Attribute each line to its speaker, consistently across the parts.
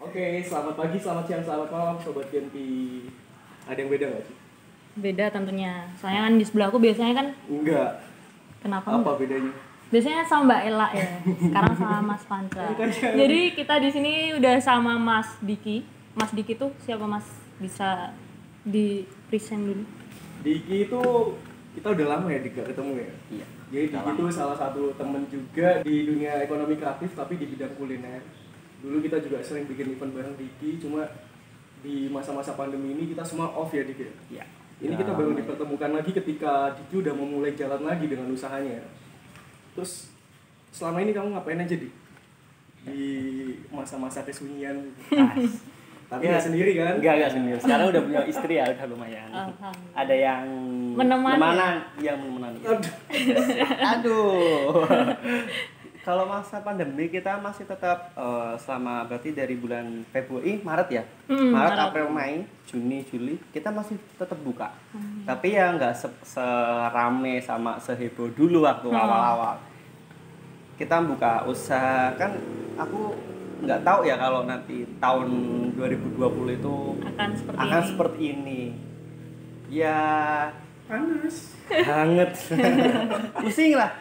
Speaker 1: Oke, selamat pagi, selamat siang, selamat malam, sobat Genti. Ada yang beda nggak sih?
Speaker 2: Beda tentunya. Soalnya kan di sebelahku biasanya kan
Speaker 1: Enggak.
Speaker 2: kenapa?
Speaker 1: Apa
Speaker 2: enggak?
Speaker 1: bedanya?
Speaker 2: Biasanya sama Mbak Ella ya. Sekarang sama Mas Panca.
Speaker 3: Kan
Speaker 2: Jadi kita di sini udah sama Mas Diki. Mas Diki tuh siapa Mas? Bisa di present dulu.
Speaker 1: Diki itu kita udah lama ya Dika ketemu ya.
Speaker 3: Iya.
Speaker 1: Jadi Diki itu salah satu temen juga di dunia ekonomi kreatif tapi di bidang kuliner. Dulu kita juga sering bikin event bareng Diki, cuma di masa-masa pandemi ini kita semua off ya Diki.
Speaker 3: Iya.
Speaker 1: Ini kita baru dipertemukan lagi ketika Diki udah mau mulai jalan lagi dengan usahanya. Terus selama ini kamu ngapain aja Dik? Di masa-masa kesunyian. Tapi nggak sendiri kan?
Speaker 3: Enggak, enggak sendiri. Sekarang udah punya istri ya, udah lumayan.
Speaker 2: Alhamdulillah.
Speaker 3: Ada yang ya?
Speaker 2: Menemani.
Speaker 3: yang menemani.
Speaker 1: Aduh.
Speaker 3: Aduh. Kalau masa pandemi kita masih tetap eh, selama berarti dari bulan Februari, Maret ya.
Speaker 2: Mm,
Speaker 3: Maret,
Speaker 2: Maret.
Speaker 3: April, Mei, Juni, Juli kita masih tetap buka. Tapi ya nggak se- serame sama seheboh dulu waktu awal-awal. Kita buka usaha kan aku nggak tahu ya kalau nanti tahun 2020 itu
Speaker 2: Akan seperti
Speaker 3: akan
Speaker 2: ini.
Speaker 3: seperti ini. Ya
Speaker 1: Panas.
Speaker 3: hangat pusing lah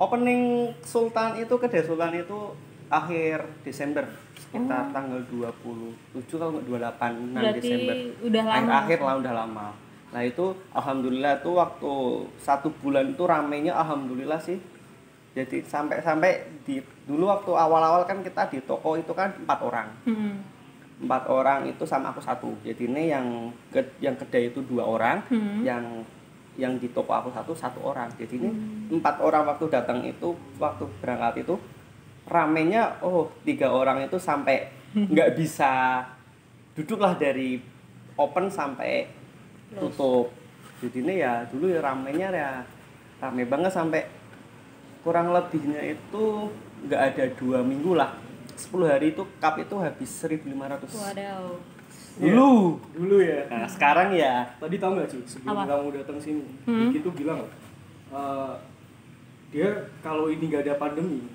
Speaker 3: opening Sultan itu kedai Sultan itu akhir Desember sekitar tanggal 27 kalau nggak 28 enam
Speaker 2: Oh. Berarti
Speaker 3: Desember
Speaker 2: udah lama.
Speaker 3: akhir akhir lah udah lama nah itu alhamdulillah tuh waktu satu bulan itu ramenya alhamdulillah sih jadi sampai-sampai di dulu waktu awal-awal kan kita di toko itu kan empat orang
Speaker 2: Hmm.
Speaker 3: empat orang itu sama aku satu jadi ini yang ke- yang kedai itu dua orang
Speaker 2: Hmm.
Speaker 3: yang yang di toko aku satu satu orang jadi ini empat orang waktu datang itu waktu berangkat itu ramenya oh tiga orang itu sampai nggak bisa duduklah dari open sampai tutup jadi ini ya dulu ya ramenya ya rame banget sampai kurang lebihnya itu nggak ada dua minggu lah 10 hari itu cup itu habis 1500
Speaker 2: Wadaw.
Speaker 3: dulu
Speaker 1: Dulu ya.
Speaker 3: nah sekarang ya
Speaker 1: Tadi tahu nggak sih sebelum
Speaker 2: Apa?
Speaker 1: kamu datang sini,
Speaker 2: Hmm.
Speaker 1: Diki tuh bilang eh, dia kalau ini nggak ada pandemi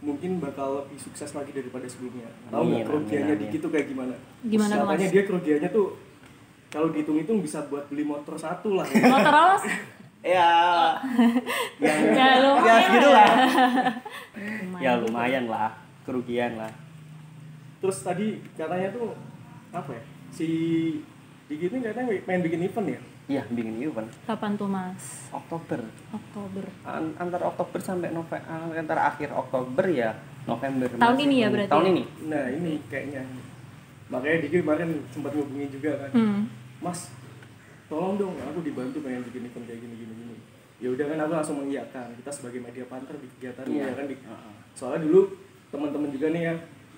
Speaker 1: mungkin bakal lebih sukses lagi daripada sebelumnya. Tahu
Speaker 3: Amin,
Speaker 1: nggak
Speaker 3: amin,
Speaker 1: kerugiannya
Speaker 3: amin.
Speaker 1: Diki tuh kayak gimana?
Speaker 2: Gimana tuh,
Speaker 1: Katanya
Speaker 2: Mas?
Speaker 1: dia kerugiannya tuh kalau dihitung-hitung bisa buat beli motor satu lah.
Speaker 2: Motor awas.
Speaker 3: ya
Speaker 2: ya lumayan.
Speaker 3: ya gitu lah
Speaker 2: Lumayan.
Speaker 3: ya lumayan lah kerugian lah
Speaker 1: Terus tadi katanya tuh apa ya? Si Diki ini katanya pengen bikin event ya?
Speaker 3: iya bikin event
Speaker 2: Kapan tuh Mas?
Speaker 3: Oktober
Speaker 2: Oktober.
Speaker 3: An- antara Oktober sampai November antara akhir Oktober ya November
Speaker 2: Tahun
Speaker 3: masih.
Speaker 2: ini ya berarti
Speaker 3: tahun
Speaker 2: ya?
Speaker 3: ini
Speaker 1: Nah ini kayaknya makanya Diki kemarin sempat ngubungin juga kan.
Speaker 2: Hmm.
Speaker 1: Mas, tolong dong aku dibantu pengen bikin event kayak gini gini gini. Ya udah kan aku langsung mengiyakan. Kita sebagai media partner di kegiatannya
Speaker 3: Iya.
Speaker 1: ya kan. Dik?
Speaker 3: Heeh.
Speaker 1: Soalnya dulu teman-teman juga nih ya,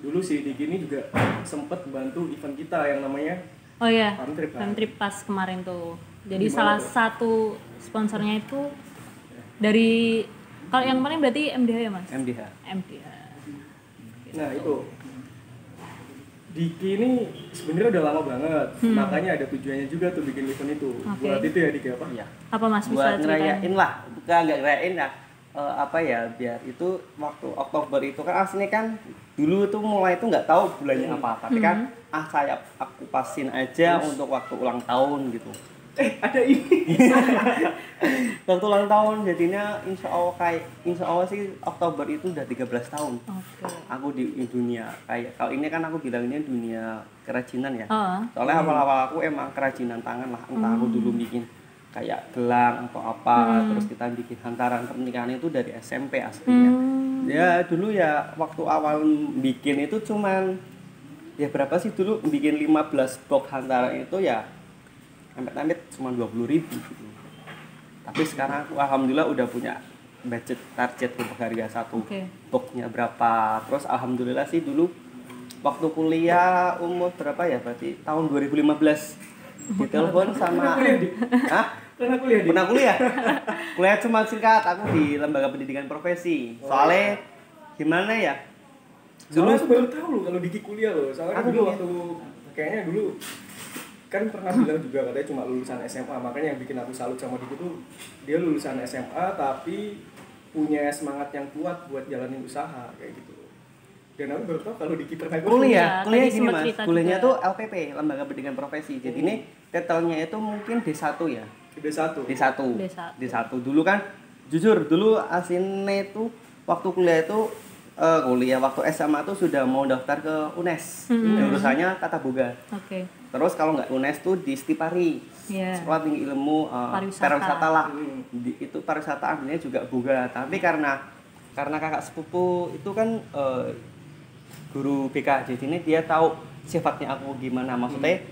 Speaker 1: dulu si Diki ini juga sempet bantu event kita yang namanya
Speaker 2: Oh iya,
Speaker 1: Farm trip kan?
Speaker 2: Farm trip pas kemarin tuh. Jadi
Speaker 1: Gimana
Speaker 2: salah
Speaker 1: tuh?
Speaker 2: satu sponsornya itu dari kalau yang paling berarti MDH ya mas?
Speaker 3: MDH
Speaker 2: MDH.
Speaker 1: Nah itu Diki ini sebenarnya udah lama banget, makanya ada tujuannya juga tuh bikin event itu.
Speaker 2: Hmm. Oke.
Speaker 1: Buat itu ya Diki apa?
Speaker 3: iya
Speaker 2: Apa mas bisa
Speaker 3: buat
Speaker 2: ceritain?
Speaker 3: ngerayain lah bukan nggak ngerayain lah Eh, apa ya biar itu waktu Oktober itu kan aslinya kan dulu itu mulai itu nggak tahu bulannya apa tapi kan
Speaker 2: Mm-hmm.
Speaker 3: ah saya aku pasin aja untuk waktu ulang tahun gitu
Speaker 1: Eh ada ini.
Speaker 3: waktu ulang tahun jadinya insya Allah kayak insya Allah sih Oktober itu udah 13 tahun
Speaker 2: Oke.
Speaker 3: aku di, di dunia kayak kalau ini kan aku bilangnya dunia kerajinan ya
Speaker 2: Oh,
Speaker 3: soalnya awal-awal aku emang kerajinan tangan lah entah aku dulu bikin kayak gelang atau apa terus kita bikin hantaran pernikahan itu dari SMP aslinya ya dulu ya waktu awal bikin itu cuman ya berapa sih dulu bikin 15 box hantaran itu ya amit-amit cuma 20.000 ribu gitu tapi sekarang aku alhamdulillah udah punya budget target untuk harga satu
Speaker 2: Oke.
Speaker 3: boxnya berapa terus alhamdulillah sih dulu waktu kuliah umur berapa ya berarti tahun 2015 ditelepon sama Hah?
Speaker 1: Karena aku lihat
Speaker 3: pernah kuliah kuliah cuma singkat aku di lembaga pendidikan profesi
Speaker 2: Oh.
Speaker 3: soalnya gimana ya
Speaker 1: Soalnya
Speaker 3: dulu
Speaker 1: aku baru tahu loh kalau Diki kuliah loh. Soalnya kan
Speaker 3: Aku
Speaker 1: dulu
Speaker 3: kuliah.
Speaker 1: waktu kayaknya dulu kan pernah bilang juga katanya cuma lulusan SMA. Makanya yang bikin aku salut sama Diki tuh dia lulusan SMA tapi punya semangat yang kuat buat jalanin usaha kayak gitu. dan aku baru tahu kalau Diki pernah kuliah
Speaker 2: Kuliah,
Speaker 3: kuliah,
Speaker 2: tadi
Speaker 3: kuliah gini
Speaker 2: sempat
Speaker 3: mas,
Speaker 2: cerita
Speaker 3: kuliahnya
Speaker 2: juga. Hmm.
Speaker 3: tuh LPP, Lembaga Pendidikan Profesi. Jadi ini titelnya itu mungkin D1 ya,
Speaker 1: udah satu
Speaker 3: D1.
Speaker 2: D1.
Speaker 3: D1. Dulu kan, jujur dulu asinnya itu waktu kuliah itu eh, kuliah waktu SMA tuh sudah mau daftar ke UNES,
Speaker 2: Hmm.
Speaker 3: jurusannya Tata Boga.
Speaker 2: Oke.
Speaker 3: Terus kalau nggak UNES tuh di Stipari,
Speaker 2: Iya.
Speaker 3: Sekolah Tinggi Ilmu eh,
Speaker 2: Pariwisata.
Speaker 3: Pariwisata lah.
Speaker 1: Hmm.
Speaker 3: Di- itu pariwisata ambilnya juga Boga, tapi karena karena kakak sepupu itu kan eh, guru BK jadi ini dia tahu sifatnya aku gimana maksudnya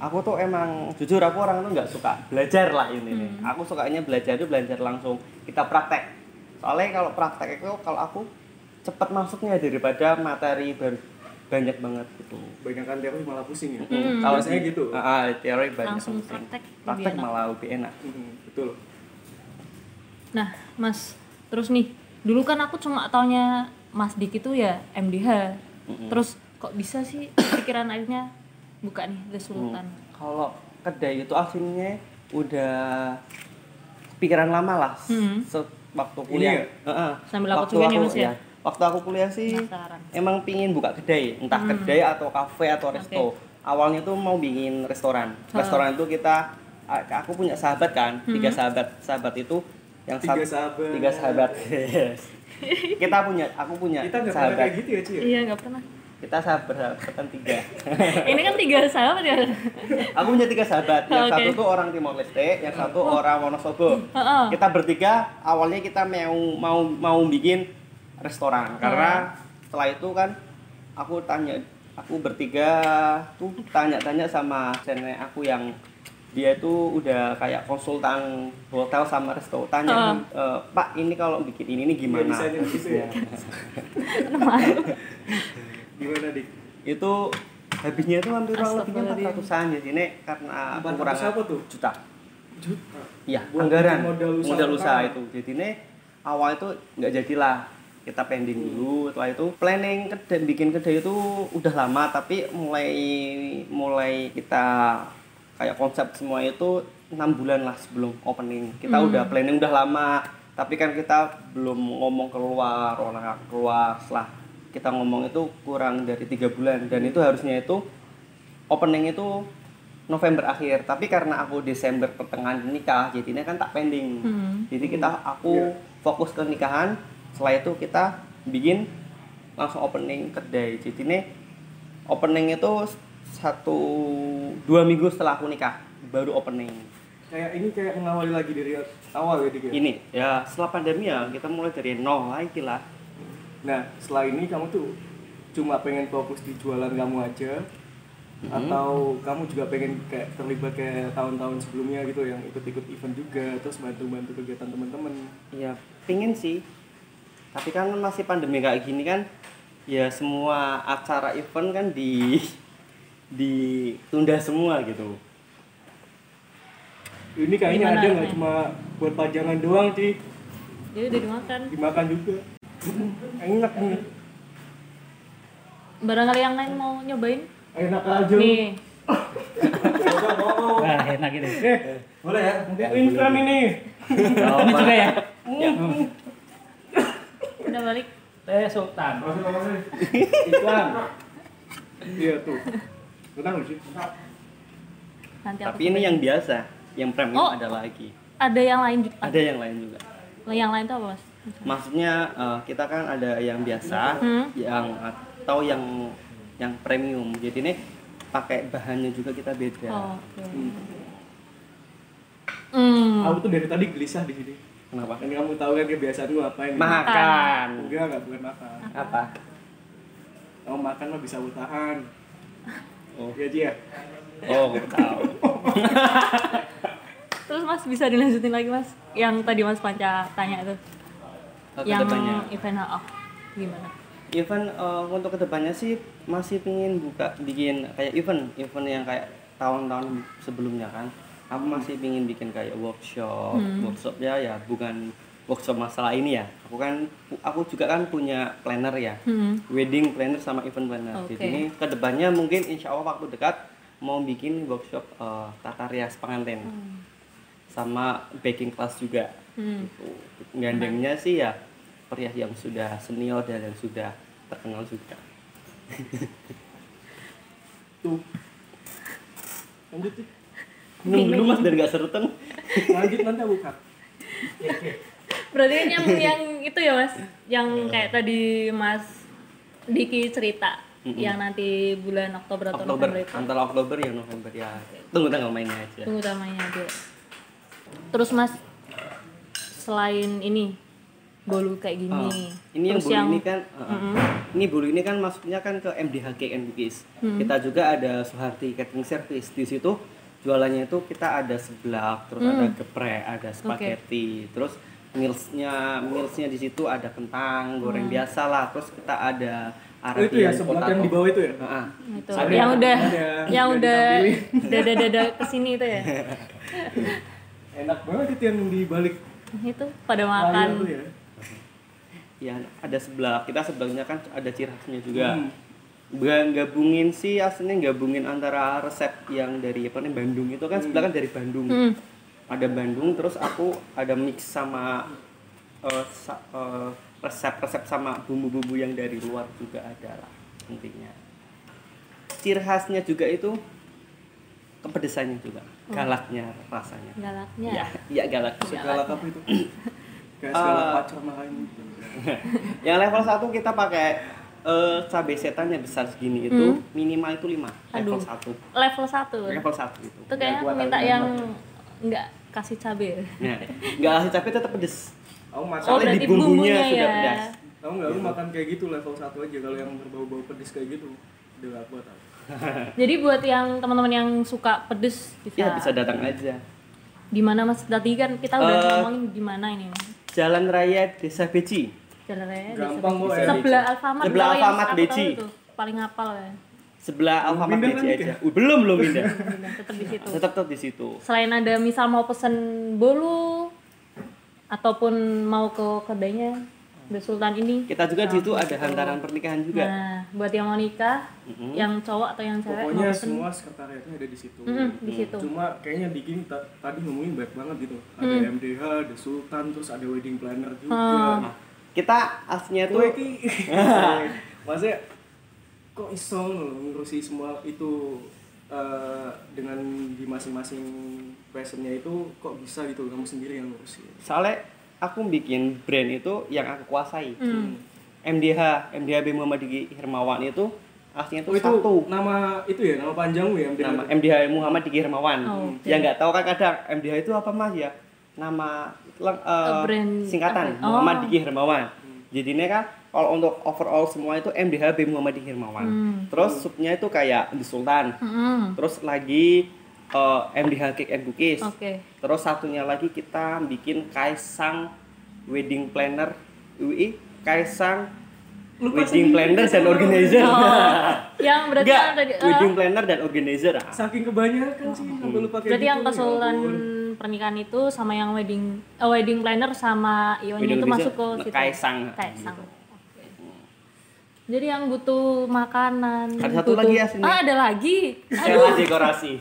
Speaker 3: aku tuh emang jujur aku orang tuh nggak suka belajar lah ini nih. aku sukanya belajar itu belajar langsung kita praktek soalnya kalau praktek itu kalau aku cepat masuknya daripada materi baru banyak banget gitu
Speaker 1: banyakkan teori malah pusing ya
Speaker 3: Mm.
Speaker 1: kalau saya gitu
Speaker 3: Ah, ah, teori banyak
Speaker 2: Hmm. Langsung
Speaker 3: penting.
Speaker 2: praktek lebih
Speaker 3: praktek
Speaker 2: enak.
Speaker 3: malah lebih enak
Speaker 1: Mm, betul
Speaker 2: Nah, Mas, terus nih, dulu kan aku cuma taunya Mas Diki tuh ya MDH. Terus kok bisa sih pikiran akhirnya buka nih The Sultan.
Speaker 3: kalau kedai itu akhirnya udah pikiran lama lah
Speaker 2: Hmm.
Speaker 3: se- waktu
Speaker 1: Ini
Speaker 3: kuliah
Speaker 1: ya?
Speaker 3: Heeh. iya.
Speaker 2: Sambil aku cuekin ya, Mas, ya?
Speaker 3: waktu aku kuliah sih
Speaker 2: Penasaran.
Speaker 3: emang pingin buka kedai entah
Speaker 2: Hmm.
Speaker 3: kedai atau kafe atau resto awalnya tuh mau bikin restoran restoran itu kita a- aku punya sahabat kan
Speaker 2: Hmm.
Speaker 3: tiga sahabat sahabat itu yang
Speaker 1: Tiga
Speaker 3: sat-
Speaker 1: sahabat.
Speaker 3: tiga sahabat Yes. kita punya aku punya
Speaker 1: kita nggak pernah
Speaker 3: sahabat
Speaker 1: kayak gitu ya Ci ya?
Speaker 2: Iya, nggak pernah.
Speaker 3: kita sahabat sahabatan tiga
Speaker 2: Ini kan tiga sahabat ya.
Speaker 3: aku punya tiga sahabat yang
Speaker 2: Oke.
Speaker 3: satu tuh orang Timor Leste yang satu orang Wonosobo
Speaker 2: Heeh.
Speaker 3: kita bertiga awalnya kita mau mau mau bikin restoran karena setelah itu kan aku tanya aku bertiga tuh tanya-tanya sama nenek aku yang dia itu udah kayak konsultan hotel sama resto tanya "Eh, pak ini kalau bikin ini ini gimana Iya.
Speaker 1: bisa aja gitu ya. gimana dik
Speaker 3: itu habisnya itu hampir kurang lebihnya
Speaker 2: Astagfirullahaladzim.
Speaker 3: 400-an jadi Nek, karena
Speaker 1: 400 apa tuh?
Speaker 3: juta
Speaker 1: juta
Speaker 3: Iya,
Speaker 1: Buat
Speaker 3: anggaran
Speaker 1: modal usaha
Speaker 3: usaha
Speaker 1: pertama.
Speaker 3: itu. Jadi ini awal itu nggak jadilah kita pending
Speaker 1: Hmm.
Speaker 3: dulu. Setelah itu planning kedai bikin kedai itu udah lama, tapi mulai mulai kita kayak konsep semua itu enam bulan lah sebelum opening. Kita udah
Speaker 1: Hmm.
Speaker 3: planning udah lama, tapi kan kita belum ngomong keluar orang nggak keluar setelah kita ngomong itu kurang dari tiga bulan dan itu harusnya itu opening itu November akhir tapi karena aku Desember pertengahan nikah jadinya kan tak pending jadi kita aku
Speaker 1: Iya.
Speaker 3: fokus ke nikahan setelah itu kita bikin langsung opening kedai jadinya opening itu satu dua minggu setelah aku nikah baru opening
Speaker 1: kayak ini kayak mengawali lagi dari awal ya dik ya?
Speaker 3: ini ya setelah pandemi ya kita mulai dari nol lagi lah
Speaker 1: nah setelah ini kamu tuh cuma pengen fokus di jualan kamu aja Mm-hmm. atau kamu juga pengen kayak terlibat kayak tahun-tahun sebelumnya gitu yang ikut-ikut event juga terus bantu-bantu kegiatan teman-teman
Speaker 3: ya pingin sih tapi kan masih pandemi kayak gini kan ya semua acara event kan di ditunda semua gitu
Speaker 1: ini kayaknya
Speaker 2: Gimana
Speaker 1: ada nggak
Speaker 2: ini?
Speaker 1: cuma buat pajangan doang sih
Speaker 2: Dia udah dimakan.
Speaker 1: dimakan juga enak nih
Speaker 2: Barangkali yang lain mau nyobain?
Speaker 1: enak aja
Speaker 2: Nih.
Speaker 1: Nggak mau.
Speaker 4: Wah, enak gitu. ini.
Speaker 1: eh
Speaker 5: Boleh ya?
Speaker 1: mungkin instan ini
Speaker 2: Iya.
Speaker 4: Ini juga ya.
Speaker 2: Udah balik.
Speaker 4: Teh Sultan.
Speaker 5: Masuk apa sih?
Speaker 1: iklan iya tuh tenang sih
Speaker 2: Nanti Iya, aku
Speaker 3: tapi ini
Speaker 2: cobain.
Speaker 3: yang biasa yang premium
Speaker 2: Oh. Ah.
Speaker 3: ada lagi
Speaker 2: ada yang lain juga.
Speaker 3: ada yang lain juga
Speaker 2: Yang lain tuh apa, Mas?
Speaker 3: maksudnya eh, kita kan ada yang biasa
Speaker 2: Hmm.
Speaker 3: yang atau yang yang premium jadi ini pakai bahannya juga kita beda
Speaker 2: Oh, oke. Hmm.
Speaker 1: aku tuh dari tadi gelisah di sini
Speaker 3: kenapa
Speaker 1: kan kamu tahu kan kebiasaan gue apa ini
Speaker 3: makan
Speaker 1: enggak enggak bukan makan
Speaker 3: apa
Speaker 1: kamu makan mah bisa bertahan
Speaker 3: Oh.
Speaker 1: Iya Ci ya
Speaker 3: oh aku tahu
Speaker 2: Terus Mas bisa dilanjutin lagi Mas yang tadi Mas Panca tanya itu. yang
Speaker 3: Kedepannya.
Speaker 2: event oh, gimana?
Speaker 3: event eh, untuk kedepannya sih masih pingin buka bikin kayak event event yang kayak tahun-tahun sebelumnya kan aku masih pingin bikin kayak workshop workshopnya ya bukan workshop masalah ini ya aku kan aku juga kan punya planner ya
Speaker 2: Hmm.
Speaker 3: wedding planner sama event planner
Speaker 2: Oke.
Speaker 3: jadi ini kedepannya mungkin insya Allah waktu dekat mau bikin workshop eh, tata rias pengantin sama baking class juga
Speaker 2: Hmm.
Speaker 3: gitu. gandengnya sih ya pria yang sudah senior dan yang sudah terkenal juga
Speaker 1: tuh lanjut Cik.
Speaker 3: minum dulu mas biar nggak serutan
Speaker 1: lanjut nanti aku cut
Speaker 2: Berarti yang yang itu ya mas, yang kayak tadi mas Diki cerita yang nanti bulan Oktober atau
Speaker 3: Oktober
Speaker 2: November itu.
Speaker 3: antara Oktober ya November ya tunggu tanggal mainnya aja
Speaker 2: Tunggu utamanya dulu. Terus mas, selain ini bolu kayak gini,
Speaker 3: ini yang
Speaker 2: Oh. terus
Speaker 3: bulu ini kan uh, ini bulu ini kan maksudnya kan ke MDHK and Bugis. kita juga ada Suharti Catering Service di situ jualannya itu kita ada seblak terus ada geprek ada spaghetti terus mealsnya mealsnya di situ ada kentang goreng biasa lah terus kita ada
Speaker 1: oh, itu ya
Speaker 3: arabian
Speaker 1: sebelah yang
Speaker 3: potato.
Speaker 1: di bawah itu ya
Speaker 3: Ah, ah.
Speaker 2: itu
Speaker 1: Ada,
Speaker 2: yang udah
Speaker 1: ada.
Speaker 2: yang
Speaker 1: Ada
Speaker 2: udah
Speaker 1: ditampilin.
Speaker 2: dada dada kesini itu ya,
Speaker 1: enak banget itu yang di balik
Speaker 2: itu pada
Speaker 1: layar
Speaker 2: makan.
Speaker 1: tuh ya
Speaker 3: ya ada seblak kita sebelaknya kan ada ciri khasnya juga
Speaker 1: Hmm.
Speaker 3: Gua gabungin sih aslinya gabungin antara resep yang dari apa namanya Bandung itu kan sebelah kan dari Bandung
Speaker 2: Hmm.
Speaker 3: ada Bandung terus aku ada mix sama eh, sa- eh, resep-resep sama bumbu-bumbu yang dari luar juga ada lah intinya ciri khasnya juga itu kepedesannya juga galaknya rasanya
Speaker 2: Galaknya.
Speaker 3: ya ya galak
Speaker 1: segalak apa itu kayak
Speaker 3: Ah.
Speaker 1: segalak pacar makan gitu
Speaker 3: yang level 1 kita pakai eh, cabai setan yang besar segini itu minimal itu 5 level
Speaker 2: Hmm. Aduh.
Speaker 3: 1
Speaker 2: Level satu.
Speaker 3: level ya, 1 itu
Speaker 2: Itu kayaknya aku
Speaker 1: kuat
Speaker 2: minta
Speaker 1: aku
Speaker 2: yang nggak kasih cabe.
Speaker 3: nah, nggak kasih cabai tetap pedes
Speaker 1: aku makan
Speaker 2: Oh,
Speaker 3: soalnya
Speaker 2: berarti
Speaker 3: di bumbunya,
Speaker 2: bumbunya
Speaker 3: sudah
Speaker 2: ya.
Speaker 3: pedas
Speaker 1: Tahu nggak
Speaker 3: Iya.
Speaker 1: lu makan kayak gitu level 1 aja kalau yang berbau-bau pedes kayak gitu. Udah gak kuat aku.
Speaker 2: Jadi buat yang teman-teman yang suka pedes bisa.
Speaker 3: ya bisa datang aja
Speaker 2: Di mana Mas? Tadi kan kita udah
Speaker 3: Eh,
Speaker 2: ngomongin di mana ini, Mas.
Speaker 3: Jalan Raya Desa Beci
Speaker 2: Jalannya di
Speaker 1: Gampang
Speaker 2: sebelah-
Speaker 1: kok ya.
Speaker 2: sebelah Alfamart.
Speaker 3: Sebelah
Speaker 2: tau yang
Speaker 3: Alfamart,
Speaker 2: aku tahu
Speaker 3: Beci.
Speaker 2: itu, Paling hafal ya.
Speaker 3: sebelah Alfamart
Speaker 1: pindah
Speaker 3: Beci
Speaker 1: kan,
Speaker 3: aja. Uh, belum belum pindah.
Speaker 2: Udah, tetap di situ.
Speaker 3: tetap tetap di situ.
Speaker 2: Selain ada misal mau pesen bolu ataupun mau ke kedainya The Sultan ini.
Speaker 3: Kita juga di situ ada hantaran pernikahan juga.
Speaker 2: Nah, buat yang mau nikah, yang cowok atau yang cewek mau
Speaker 1: Pokoknya
Speaker 2: pesen
Speaker 1: semua sekretariatnya ada di situ.
Speaker 2: Mm, di situ.
Speaker 1: Cuma kayaknya bikin ta- tadi ngomongin banyak banget gitu. Ada MDH, ada Sultan, terus ada wedding planner juga.
Speaker 3: Kita aslinya
Speaker 1: Kue
Speaker 3: tuh
Speaker 1: ki. Maksudnya kok iso loh ngurusi semua itu eh, dengan di masing-masing passionnya itu kok bisa gitu kamu sendiri yang ngurusi.
Speaker 3: soalnya aku bikin brand itu yang aku kuasai.
Speaker 2: Hmm.
Speaker 3: MDH, MDHB Muhammad Diki Hermawan itu aslinya tuh
Speaker 1: Oh itu
Speaker 3: satu.
Speaker 1: nama itu ya nama panjangmu ya MDH.
Speaker 3: Nama MDH Muhammad Diki Hermawan.
Speaker 2: Oh, oke.
Speaker 3: Yang nggak tahu kan kadang MDH itu apa mas ya? Nama leng- eh,
Speaker 2: Eh, brand
Speaker 3: singkatan
Speaker 2: apa? Oh.
Speaker 3: Muhammad Diki Hermawan. Jadinya kan kalau untuk overall semua itu MDHB Muhammad Diki Hermawan.
Speaker 2: Hmm.
Speaker 3: Terus subnya itu kayak The Sultan.
Speaker 2: Mm-mm.
Speaker 3: Terus lagi eh, MDH Cake and Cookies.
Speaker 2: Hmm. Oke.
Speaker 3: Terus satunya lagi kita bikin Kaisang Wedding Planner UI, Kaisang Wedding Planner dan Organizer.
Speaker 2: Yang Oh, berarti
Speaker 3: Enggak,
Speaker 2: yang tadi eh,
Speaker 3: Wedding Planner dan Organizer. ah.
Speaker 1: Saking kebanyakan sih sampai lupa kayak
Speaker 2: berarti
Speaker 1: gitu,
Speaker 2: yang
Speaker 1: ya
Speaker 2: kesulitan
Speaker 1: ampun.
Speaker 2: pernikahan itu sama yang wedding eh, wedding planner sama ionya
Speaker 3: Wedding
Speaker 2: itu
Speaker 3: planner,
Speaker 2: masuk ke situ.
Speaker 3: Kaisang. gitu. Hmm.
Speaker 2: Kaisang. Oke. Jadi yang butuh makanan.
Speaker 3: Ada satu
Speaker 2: butuh-
Speaker 3: lagi ya, aslinya.
Speaker 2: Ah, ada lagi.
Speaker 3: Sela dekorasi.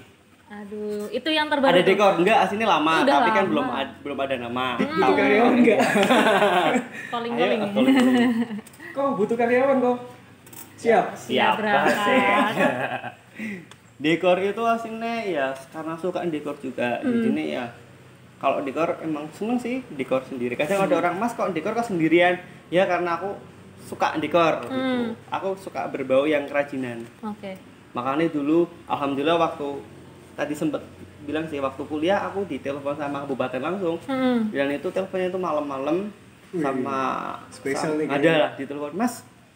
Speaker 2: Aduh, itu yang terbaru.
Speaker 3: Ada
Speaker 2: tuh.
Speaker 3: dekor enggak? Aslinya lama,
Speaker 2: Udah
Speaker 3: tapi
Speaker 2: lama.
Speaker 3: kan
Speaker 2: Hmm.
Speaker 3: belum ad- belum ada nama.
Speaker 1: butuh karyawan enggak?
Speaker 2: Calling-calling.
Speaker 3: Ayo, calling dulu.
Speaker 1: Kok butuh karyawan kok? Siap.
Speaker 2: Ya,
Speaker 3: Siap,
Speaker 2: berangkat.
Speaker 3: dekor itu aslinya ya karena suka dekor juga
Speaker 1: Hmm.
Speaker 3: jadinya ya kalau dekor emang seneng sih dekor sendiri kadang
Speaker 1: Hmm.
Speaker 3: ada orang mas kok dekor kok sendirian ya karena aku suka dekor gitu.
Speaker 1: Hmm.
Speaker 3: aku suka berbau yang kerajinan
Speaker 2: Oke.
Speaker 3: makanya dulu alhamdulillah waktu tadi sempet bilang sih waktu kuliah aku ditelepon sama kabupaten langsung
Speaker 2: Mm-mm.
Speaker 3: dan itu teleponnya itu malam-malam
Speaker 1: Wih,
Speaker 3: sama
Speaker 1: spesial
Speaker 3: sama-
Speaker 1: nih
Speaker 3: ada
Speaker 1: kayaknya.
Speaker 3: lah ditelepon mas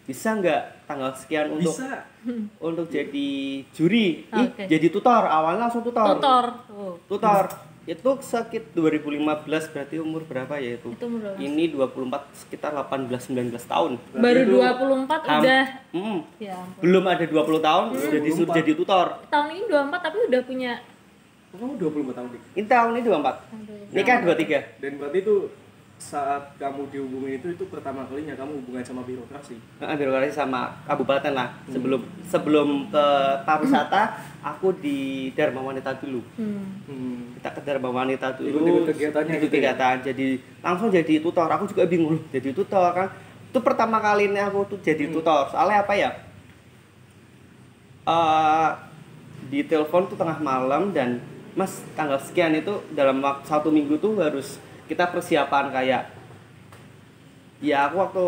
Speaker 3: bisa nggak tanggal sekian untuk
Speaker 1: Bisa.
Speaker 3: untuk jadi juri Ih,
Speaker 2: Oke.
Speaker 3: jadi tutor awalnya langsung tutor
Speaker 2: Tutor. Oh,
Speaker 3: Tutor. itu sakit 2015 berarti umur berapa ya itu
Speaker 2: itu menurut.
Speaker 3: ini 24 sekitar 18 19 tahun
Speaker 2: Baru
Speaker 1: itu
Speaker 2: 24
Speaker 3: Ham-
Speaker 2: udah
Speaker 3: Mm,
Speaker 2: ya ampun.
Speaker 3: belum ada 20 tahun udah disuruh
Speaker 1: 24.
Speaker 3: jadi tutor
Speaker 2: Tahun ini 24 tapi udah punya
Speaker 1: Kamu 24 tahun dik.
Speaker 3: ini tahun ini 24
Speaker 2: Aduh.
Speaker 3: nikah 23
Speaker 1: Dan berarti itu saat kamu dihubungin itu itu pertama kalinya kamu hubungan sama birokrasi.
Speaker 3: Nah, birokrasi sama kabupaten lah sebelum sebelum ke pariwisata aku di Dharma Wanita dulu
Speaker 2: Hmm.
Speaker 1: Hmm.
Speaker 3: kita ke Dharma Wanita dulu
Speaker 1: Ikutin kegiatannya
Speaker 3: ikut
Speaker 1: gitu ya?
Speaker 3: kegiatan jadi langsung jadi tutor aku juga bingung loh jadi tutor kan itu pertama kalinya aku tuh
Speaker 1: Hmm.
Speaker 3: jadi tutor soalnya apa ya Eh, di telepon tuh tengah malam dan mas tanggal sekian itu dalam waktu satu minggu tuh harus kita persiapan kayak ya aku waktu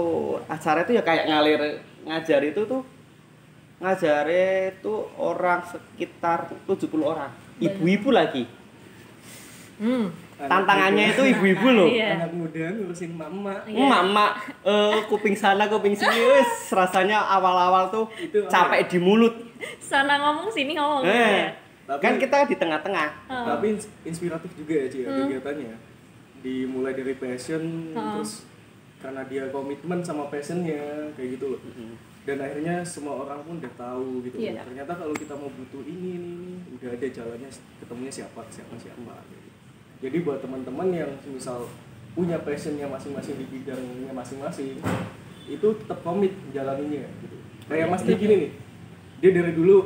Speaker 3: acara itu ya kayak ngalir ngajar itu tuh ngajar itu orang sekitar 70 orang ibu-ibu lagi
Speaker 2: Hmm.
Speaker 3: tantangannya itu ya. ibu-ibu loh
Speaker 2: Iya.
Speaker 1: anak muda ngurusin mama
Speaker 2: Iya.
Speaker 3: Mama, eh, kuping sana kuping sini, wis, rasanya awal-awal tuh
Speaker 1: Itu apa?
Speaker 3: capek di mulut.
Speaker 2: Sana ngomong sini ngomong.
Speaker 3: Eh,
Speaker 2: Iya.
Speaker 1: Tapi-
Speaker 3: kan kita di tengah-tengah.
Speaker 1: tapi ins- inspiratif juga ya Ci, ya, kegiatannya dimulai dari passion terus karena dia komitmen sama passionnya kayak gitu loh
Speaker 3: Hmm.
Speaker 1: dan akhirnya semua orang pun udah tahu gitu
Speaker 2: Iya.
Speaker 1: ternyata kalau kita mau butuh ini ini ini udah ada jalannya ketemunya siapa siapa siapa gitu. jadi buat teman-teman yang misal punya passionnya masing-masing di bidangnya masing-masing itu tetap komit jalaninnya gitu kayak Mas Tiki gini nih dia dari dulu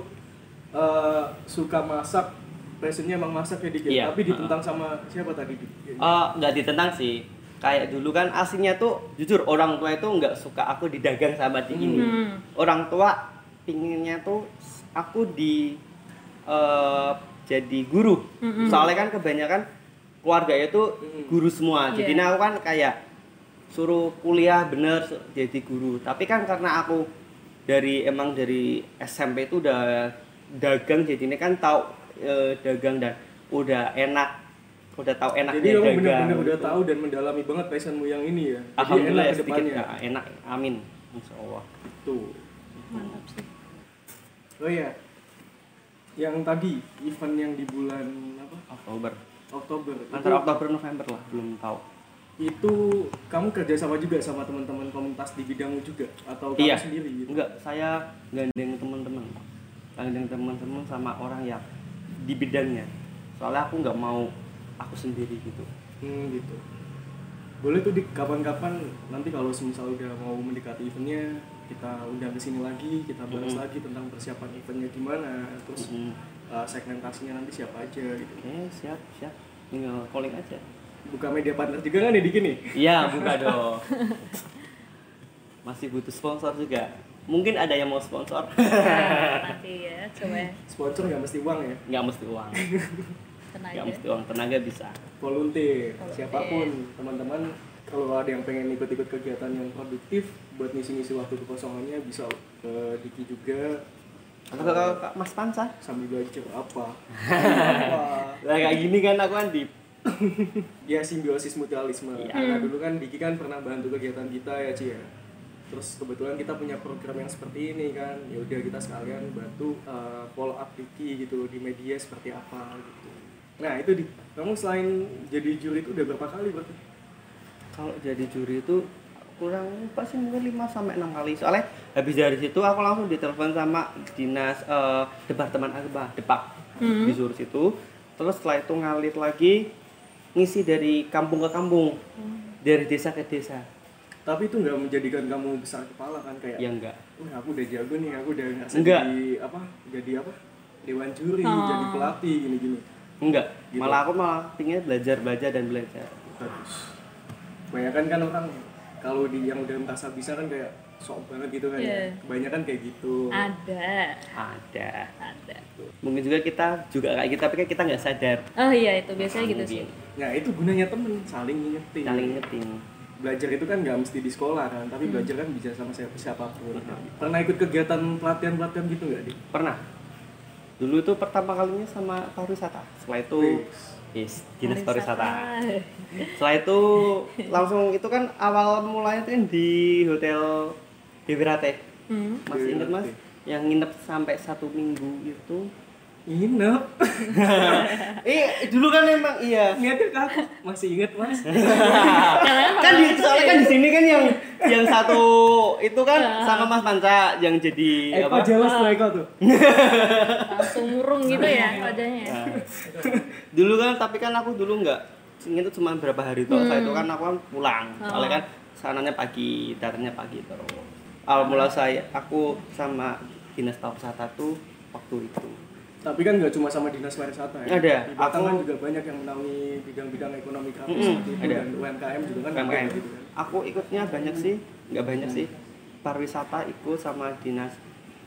Speaker 1: eh, suka masak passionnya emang masak ya Dik ya?
Speaker 3: Iya.
Speaker 1: tapi ditentang sama siapa tadi Dik?
Speaker 3: Eh, nggak ditentang sih. Kayak dulu kan aslinya tuh jujur orang tua itu nggak suka aku didagang sama di ini.
Speaker 2: Hmm.
Speaker 3: Orang tua pinginnya tuh aku di eh, jadi guru. Soalnya kan kebanyakan keluarga itu
Speaker 1: Mm.
Speaker 3: guru semua. Jadi
Speaker 2: Iya.
Speaker 3: nah, aku kan kayak suruh kuliah bener su- jadi guru. Tapi kan karena aku dari emang dari SMP itu udah dagang jadi ini kan tahu eh, dagang dan udah enak udah tahu enaknya
Speaker 1: jadi kamu
Speaker 3: dagang.
Speaker 1: benar-benar udah
Speaker 3: gitu.
Speaker 1: tahu dan mendalami banget passionmu yang ini ya Jadi
Speaker 3: Alhamdulillah
Speaker 1: enak
Speaker 3: ya,
Speaker 1: ke
Speaker 3: sedikit
Speaker 1: depannya.
Speaker 3: nah, enak. Amin. Insya Allah.
Speaker 1: tuh
Speaker 2: Mantap sih.
Speaker 1: oh iya yang tadi event yang di bulan apa
Speaker 3: Oktober.
Speaker 1: Oktober itu,
Speaker 3: Antara Oktober November lah belum tahu.
Speaker 1: itu kamu kerja sama juga sama teman-teman komunitas di bidangmu juga atau kamu
Speaker 3: Iya.
Speaker 1: sendiri gitu?
Speaker 3: Enggak, saya gandeng teman-teman. Gandeng teman-teman sama orang yang di bidangnya. Soalnya aku nggak mau aku sendiri gitu.
Speaker 1: Hmm, gitu. Boleh tuh Dik, kapan-kapan nanti kalau semisal udah mau mendekati eventnya, kita undang ke sini lagi, kita bahas
Speaker 3: Mhm.
Speaker 1: lagi tentang persiapan eventnya gimana, terus
Speaker 3: Mm.
Speaker 1: uh, segmentasinya nanti siapa aja gitu.
Speaker 3: Oke, siap, siap. Tinggal calling aja.
Speaker 1: Buka media partner juga kan ya Dik ini?
Speaker 3: Iya, buka dong. Masih butuh sponsor juga. Mungkin ada yang mau sponsor.
Speaker 2: Nah, nanti ya coba ya.
Speaker 1: Sponsor nggak mesti uang ya,
Speaker 3: Nggak mesti uang.
Speaker 2: tenaga.
Speaker 3: Nggak mesti uang, tenaga bisa.
Speaker 1: volunteer,
Speaker 2: Volunteer.
Speaker 1: siapapun teman-teman kalau ada yang pengen ikut-ikut kegiatan yang produktif buat ngisi-ngisi waktu kekosongannya bisa ke Diki juga
Speaker 3: Atau ke- ke- ke Mas Pansa.
Speaker 1: sambil belajar apa. apa.
Speaker 3: Lah kayak gini kan aku kan di
Speaker 1: ya simbiosis mutualisme
Speaker 3: Iya.
Speaker 1: karena dulu kan Diki kan pernah bantu kegiatan kita ya Ci ya terus kebetulan kita punya program yang seperti ini kan ya udah kita sekalian bantu uh, follow up Diki gitu di media seperti apa gitu nah itu di kamu selain jadi juri itu udah berapa kali berarti
Speaker 3: kalau jadi juri itu kurang lupa sih mungkin 5 sampai 6 kali soalnya habis dari situ aku langsung ditelepon sama dinas eh, departemen agama depak
Speaker 2: Hmm.
Speaker 3: disuruh situ terus setelah itu ngalir lagi ngisi dari kampung ke kampung
Speaker 2: Hmm.
Speaker 3: dari desa ke desa
Speaker 1: tapi itu nggak menjadikan kamu besar kepala kan kayak
Speaker 3: ya enggak
Speaker 1: "Wah, aku udah jago nih aku udah nggak
Speaker 3: Enggak.
Speaker 1: jadi apa jadi apa dewan juri jadi pelatih gini gini
Speaker 3: enggak
Speaker 1: Gitu.
Speaker 3: malah aku malah pingin belajar belajar dan belajar
Speaker 1: bagus kebanyakan kan orang kalau di yang udah merasa bisa kan kayak sok banget gitu kan ya.
Speaker 2: Iya.
Speaker 1: kebanyakan kayak gitu
Speaker 2: Ada.
Speaker 3: ada
Speaker 2: Ada.
Speaker 3: mungkin juga kita juga kayak gitu tapi kan kita nggak sadar
Speaker 2: Oh iya itu biasanya gitu sih.
Speaker 3: mungkin
Speaker 1: nah itu gunanya temen saling ngingetin
Speaker 3: saling ngeting
Speaker 1: belajar itu kan nggak mesti di sekolah kan tapi belajar kan bisa sama siapa siapapun pernah ikut kegiatan pelatihan pelatihan gitu nggak di
Speaker 3: pernah dulu itu pertama kalinya sama pariwisata setelah itu yes, dinas pariwisata setelah itu langsung itu kan awal mulanya tuh yang di hotel Dewirate
Speaker 2: Hmm.
Speaker 3: masih ingat mas
Speaker 1: Dewirate.
Speaker 3: yang nginep sampai satu minggu itu
Speaker 1: inap
Speaker 3: eh dulu kan emang iya
Speaker 1: niatnya ke aku masih inget mas
Speaker 3: kan di soalnya kan di sini kan yang yang satu itu kan sama Mas Panca yang jadi
Speaker 1: Eko jelas tuh Eko tuh
Speaker 2: Langsung murung gitu ya wajahnya.
Speaker 3: Nah, dulu kan tapi kan aku dulu nggak itu cuma berapa hari tuh
Speaker 2: Hmm.
Speaker 3: saya itu kan aku kan pulang
Speaker 2: Oh.
Speaker 3: soalnya kan sananya pagi datangnya pagi terus awal mula saya aku sama dinas pariwisata tuh waktu itu
Speaker 1: tapi kan nggak cuma sama dinas pariwisata ya
Speaker 3: Ada.
Speaker 1: di Batam
Speaker 3: Aku-
Speaker 1: kan juga banyak yang menaungi bidang-bidang ekonomi kreatif
Speaker 3: Mm-mm,
Speaker 1: seperti itu
Speaker 3: ada.
Speaker 1: dan UMKM juga kan
Speaker 3: UMKM.
Speaker 1: gitu kan
Speaker 3: aku ikutnya banyak sih nggak banyak sih pariwisata ikut sama dinas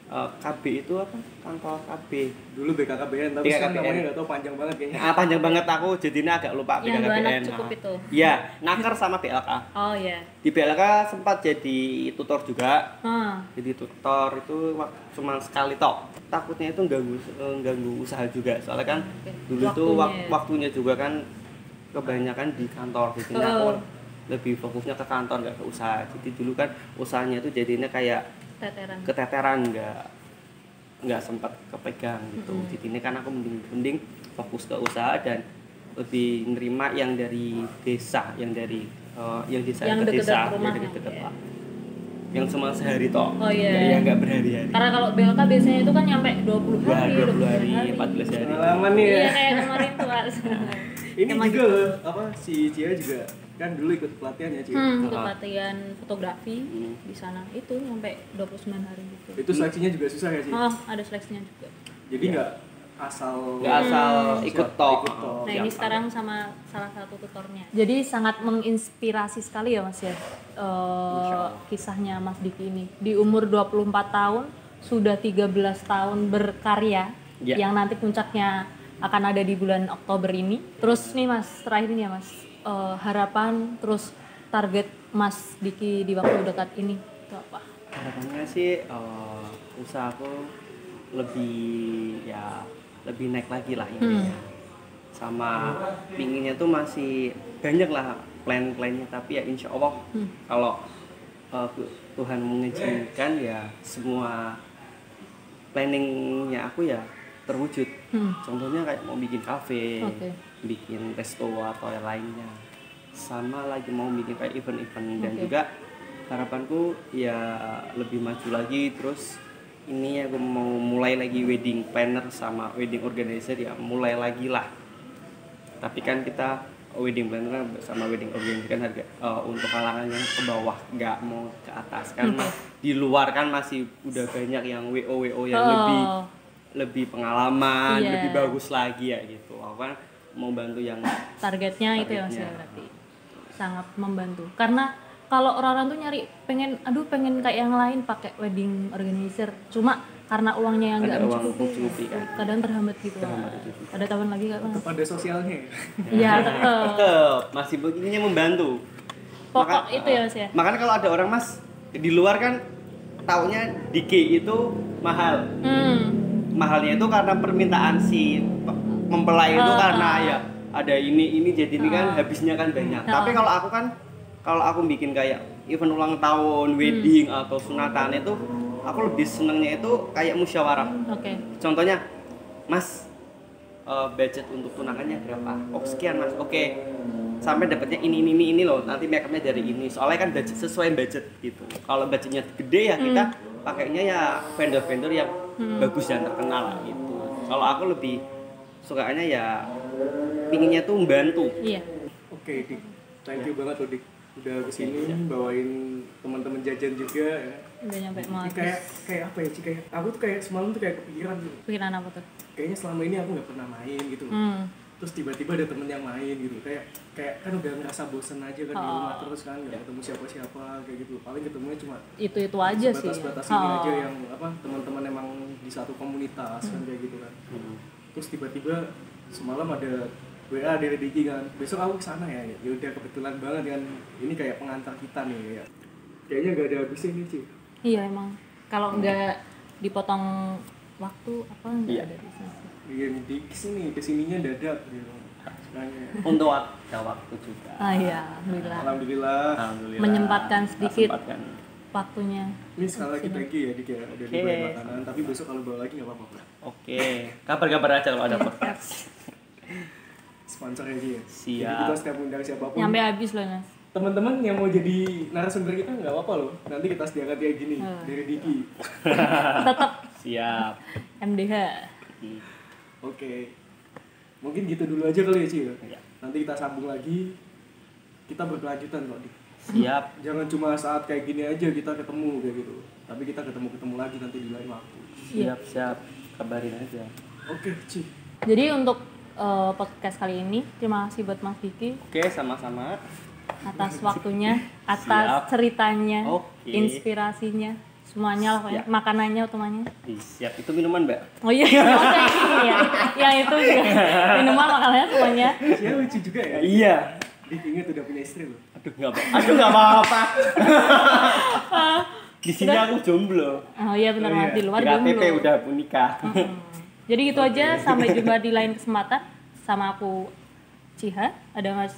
Speaker 3: eh, KB itu apa kantor KB
Speaker 1: Dulu BKKBN, tapi sekarang
Speaker 3: BKKBN.
Speaker 1: namanya nggak tahu panjang banget kayaknya.
Speaker 3: ah panjang banget aku jadinya agak lupa
Speaker 2: Yang dua anak
Speaker 3: BKKBN
Speaker 2: cukup
Speaker 3: Ah.
Speaker 2: itu.
Speaker 3: iya nakar sama BLK
Speaker 2: Oh ya.
Speaker 3: di BLK sempat jadi tutor juga
Speaker 2: Ah,
Speaker 3: jadi tutor itu wak- cuma sekali tok takutnya itu ganggu eh, ganggu usaha juga soalnya kan
Speaker 2: Oke.
Speaker 3: dulu itu wak-
Speaker 2: Waktunya.
Speaker 3: waktunya juga kan kebanyakan di kantor jadi
Speaker 2: Oh.
Speaker 3: aku lebih fokusnya ke kantor nggak ke usaha jadi dulu kan usahanya itu jadinya kayak
Speaker 2: teteran.
Speaker 3: keteteran nggak nggak sempat kepegang gitu
Speaker 2: Mm-mm.
Speaker 3: jadi ini kan aku mending mending fokus ke usaha dan lebih nerima yang dari desa yang dari eh, yang desa
Speaker 2: Yang
Speaker 3: ke
Speaker 2: deket-deket
Speaker 3: desa yang
Speaker 2: rumahnya,
Speaker 3: deket-deket
Speaker 2: ya.
Speaker 3: lah. yang cuma sehari toh
Speaker 2: Oh, iya.
Speaker 3: Nggak- yang nggak berhari-hari
Speaker 2: Karena kalau BLK biasanya itu kan nyampe 20
Speaker 3: dua
Speaker 2: hari,
Speaker 3: dua puluh hari
Speaker 2: 14
Speaker 3: 14 hari Iya.
Speaker 1: Pengalaman nih ya.
Speaker 2: Iya kayak kemarin tuh Hmm, Ars.
Speaker 1: Ini juga
Speaker 2: Emang gitu.
Speaker 1: loh, apa si Cia juga kan dulu ikut pelatihan ya Cia.
Speaker 2: Hmm, ikut
Speaker 3: Ah.
Speaker 2: pelatihan fotografi
Speaker 3: Hmm.
Speaker 2: di sana itu nyampe 29 hari gitu.
Speaker 1: Itu seleksinya juga susah ya sih.
Speaker 2: Oh, ada seleksinya juga.
Speaker 1: Jadi nggak asal
Speaker 3: Iya. nggak asal ikut toh
Speaker 1: Ikut toh.
Speaker 2: Hmm. Nah,
Speaker 3: Siap,
Speaker 2: ini
Speaker 3: Pak.
Speaker 2: sekarang sama salah satu tutornya.
Speaker 5: Jadi sangat menginspirasi sekali ya Mas ya eh,
Speaker 3: Insya Allah.
Speaker 5: kisahnya Mas Diki ini. Di umur 24 tahun sudah 13 tahun berkarya
Speaker 3: Ya.
Speaker 5: yang nanti puncaknya akan ada di bulan Oktober ini. Terus nih Mas, terakhir nih ya Mas, eh, harapan terus target Mas Diki di waktu dekat ini itu apa?
Speaker 3: harapannya sih eh, usahaku lebih ya lebih naik lagi lah intinya sama pinginnya tuh masih banyak lah plan-plannya tapi ya insya Allah kalau eh, Tu- Tuhan mengizinkan ya semua planningnya aku ya terwujud
Speaker 5: Hmm.
Speaker 3: contohnya kayak mau bikin kafe
Speaker 5: Oke.
Speaker 3: bikin resto atau yang lainnya sama lagi mau bikin kayak event-event dan
Speaker 5: Oke.
Speaker 3: juga harapanku ya lebih maju lagi terus ini aku mau mulai lagi wedding planner sama wedding organizer ya mulai lagi lah tapi kan kita wedding planner kan sama wedding organizer kan harga eh, untuk kalangan yang ke bawah nggak mau ke atas kan mas
Speaker 5: Hmm.
Speaker 3: di luar kan masih udah banyak yang wo wo yang
Speaker 5: Oh.
Speaker 3: lebih lebih pengalaman
Speaker 5: Iya.
Speaker 3: lebih bagus lagi ya gitu aku kan mau bantu yang
Speaker 2: Eh.
Speaker 5: targetnya itu ya mas ya
Speaker 3: Targetnya.
Speaker 5: berarti sangat membantu karena kalau orang-orang tuh nyari pengen aduh pengen kayak yang lain pakai wedding organizer cuma karena uangnya yang nggak
Speaker 3: Ada uang mencukupi,
Speaker 5: mencukupi
Speaker 3: kan.
Speaker 5: kadang terhambat gitu
Speaker 3: Terhambat
Speaker 5: Mas.
Speaker 3: gitu.
Speaker 5: ada tahun lagi nggak mas
Speaker 1: Pada sosialnya. ya.
Speaker 5: iya tetep
Speaker 3: tetep masih begininya membantu
Speaker 2: Pokok itu ya, Mas, ya?
Speaker 3: makanya kalau ada orang mas di luar kan taunya Diki itu mahal
Speaker 2: Hmm.
Speaker 3: mahalnya itu karena permintaan si pe- mempelai itu
Speaker 2: Ah. Ah.
Speaker 3: karena ya ada ini ini jadi ini kan habisnya kan banyak. Tapi kalau aku kan kalau aku bikin kayak event ulang tahun, wedding
Speaker 2: Hmm.
Speaker 3: atau sunatan itu aku lebih senengnya itu kayak musyawarah.
Speaker 2: Oke.
Speaker 3: Contohnya, Mas eh, budget untuk tunangannya berapa? Oh sekian Mas. Oke. Sampai dapatnya ini ini ini ini loh. Nanti makeupnya dari ini. Soalnya kan budget sesuai budget gitu. Kalau budgetnya gede ya
Speaker 5: Hmm.
Speaker 3: kita pakainya ya vendor-vendor yang bagus dan terkenal lah gitu. Kalau aku lebih sukanya ya pinginnya tuh membantu.
Speaker 2: Iya.
Speaker 1: Oke, Dik. Thank
Speaker 3: Iya.
Speaker 1: you banget loh, Dik. Udah kesini bawain teman-teman jajan juga ya.
Speaker 2: Udah nyampe
Speaker 1: Ini
Speaker 2: mau habis.
Speaker 1: kayak kayak apa ya, Ci? Kayak aku tuh kayak semalam tuh kayak kepikiran gitu.
Speaker 2: Pikiran apa tuh?
Speaker 1: Kayaknya selama ini aku nggak pernah main gitu. loh.
Speaker 2: Hmm.
Speaker 1: Terus tiba-tiba ada temen yang main gitu. Kayak kayak kan udah ngerasa bosen aja kan di
Speaker 5: Oh.
Speaker 1: rumah terus kan nggak ketemu siapa-siapa kayak gitu. Paling ketemunya cuma
Speaker 5: itu itu aja sih Oh.
Speaker 1: batas-batas ini aja yang apa teman-teman emang di satu komunitas
Speaker 5: Hmm.
Speaker 1: kan kayak gitu kan. Terus tiba-tiba semalam ada WA dari Diki kan, besok aku kesana ya, ya udah kebetulan banget kan, ini kayak pengantar kita nih ya. Kayaknya nggak ada habisnya nih Ci.
Speaker 5: iya emang
Speaker 2: Kalau
Speaker 3: Hmm.
Speaker 2: enggak
Speaker 5: dipotong waktu apa nggak
Speaker 3: Iya.
Speaker 5: ada bisnis
Speaker 1: Iya nih Diki sini, kesininya dadak gitu.
Speaker 5: Nah.
Speaker 1: Makanya,
Speaker 3: Untuk waktu waktu juga.
Speaker 5: ah iya alhamdulillah
Speaker 1: Alhamdulillah.
Speaker 3: Alhamdulillah.
Speaker 5: Menyempatkan sedikit.
Speaker 3: Menyempatkan.
Speaker 5: waktunya
Speaker 1: Ini sekali lagi thank you ya Dik ya, udah
Speaker 3: Oke.
Speaker 1: dibawain makanan, tapi besok kalau bawa lagi nggak apa-apa.
Speaker 3: Oke, kabar-kabar aja kalau ada podcast.
Speaker 1: Sponsor aja ya. Jadi
Speaker 3: Siap.
Speaker 1: kita setiap undang siapapun.
Speaker 5: nyampe habis loh mas
Speaker 1: teman-teman yang mau jadi narasumber kita nggak apa-apa loh nanti kita sediakan kayak gini dari Diki
Speaker 3: Siap.
Speaker 5: MDH
Speaker 2: Iya.
Speaker 1: oke mungkin gitu dulu aja kali ya Ci ya?
Speaker 3: Iya.
Speaker 1: nanti kita sambung lagi kita berkelanjutan kok Dik.
Speaker 3: Siap.
Speaker 1: jangan cuma saat kayak gini aja kita ketemu kayak gitu tapi kita ketemu ketemu lagi nanti di lain waktu
Speaker 2: Iya.
Speaker 3: Siap, siap. Kabarin aja.
Speaker 1: oke Ci
Speaker 5: Jadi untuk eh, podcast kali ini, terima kasih buat Mas Diki.
Speaker 3: Oke, sama-sama.
Speaker 2: atas waktunya, atas ceritanya,
Speaker 3: Oke.
Speaker 2: inspirasinya, semuanya lah pokoknya,
Speaker 3: Siap.
Speaker 2: makanannya utamanya.
Speaker 3: Ih, siap itu minuman mbak
Speaker 2: Oh iya, oke iya. Ya itu juga. Minuman makanannya semuanya.
Speaker 1: Dia lucu juga ya.
Speaker 3: iya
Speaker 1: Diinget udah punya istri loh.
Speaker 3: aduh nggak apa aduh nggak apa apa di sini aku jomblo
Speaker 2: Oh iya benar banget di luar
Speaker 3: di KTP
Speaker 2: jomblo. Hmm.
Speaker 3: udah menikah
Speaker 2: Jadi gitu aja sampai jumpa di lain kesempatan sama aku Ciha, ada Mas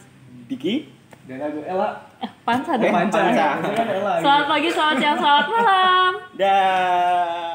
Speaker 3: Diki
Speaker 1: Dan aku Ella
Speaker 2: eh, Pansa dong.
Speaker 1: Panca.
Speaker 3: Panca.
Speaker 1: Panca kan Ella.
Speaker 2: Selamat pagi, selamat siang, selamat malam.
Speaker 3: dah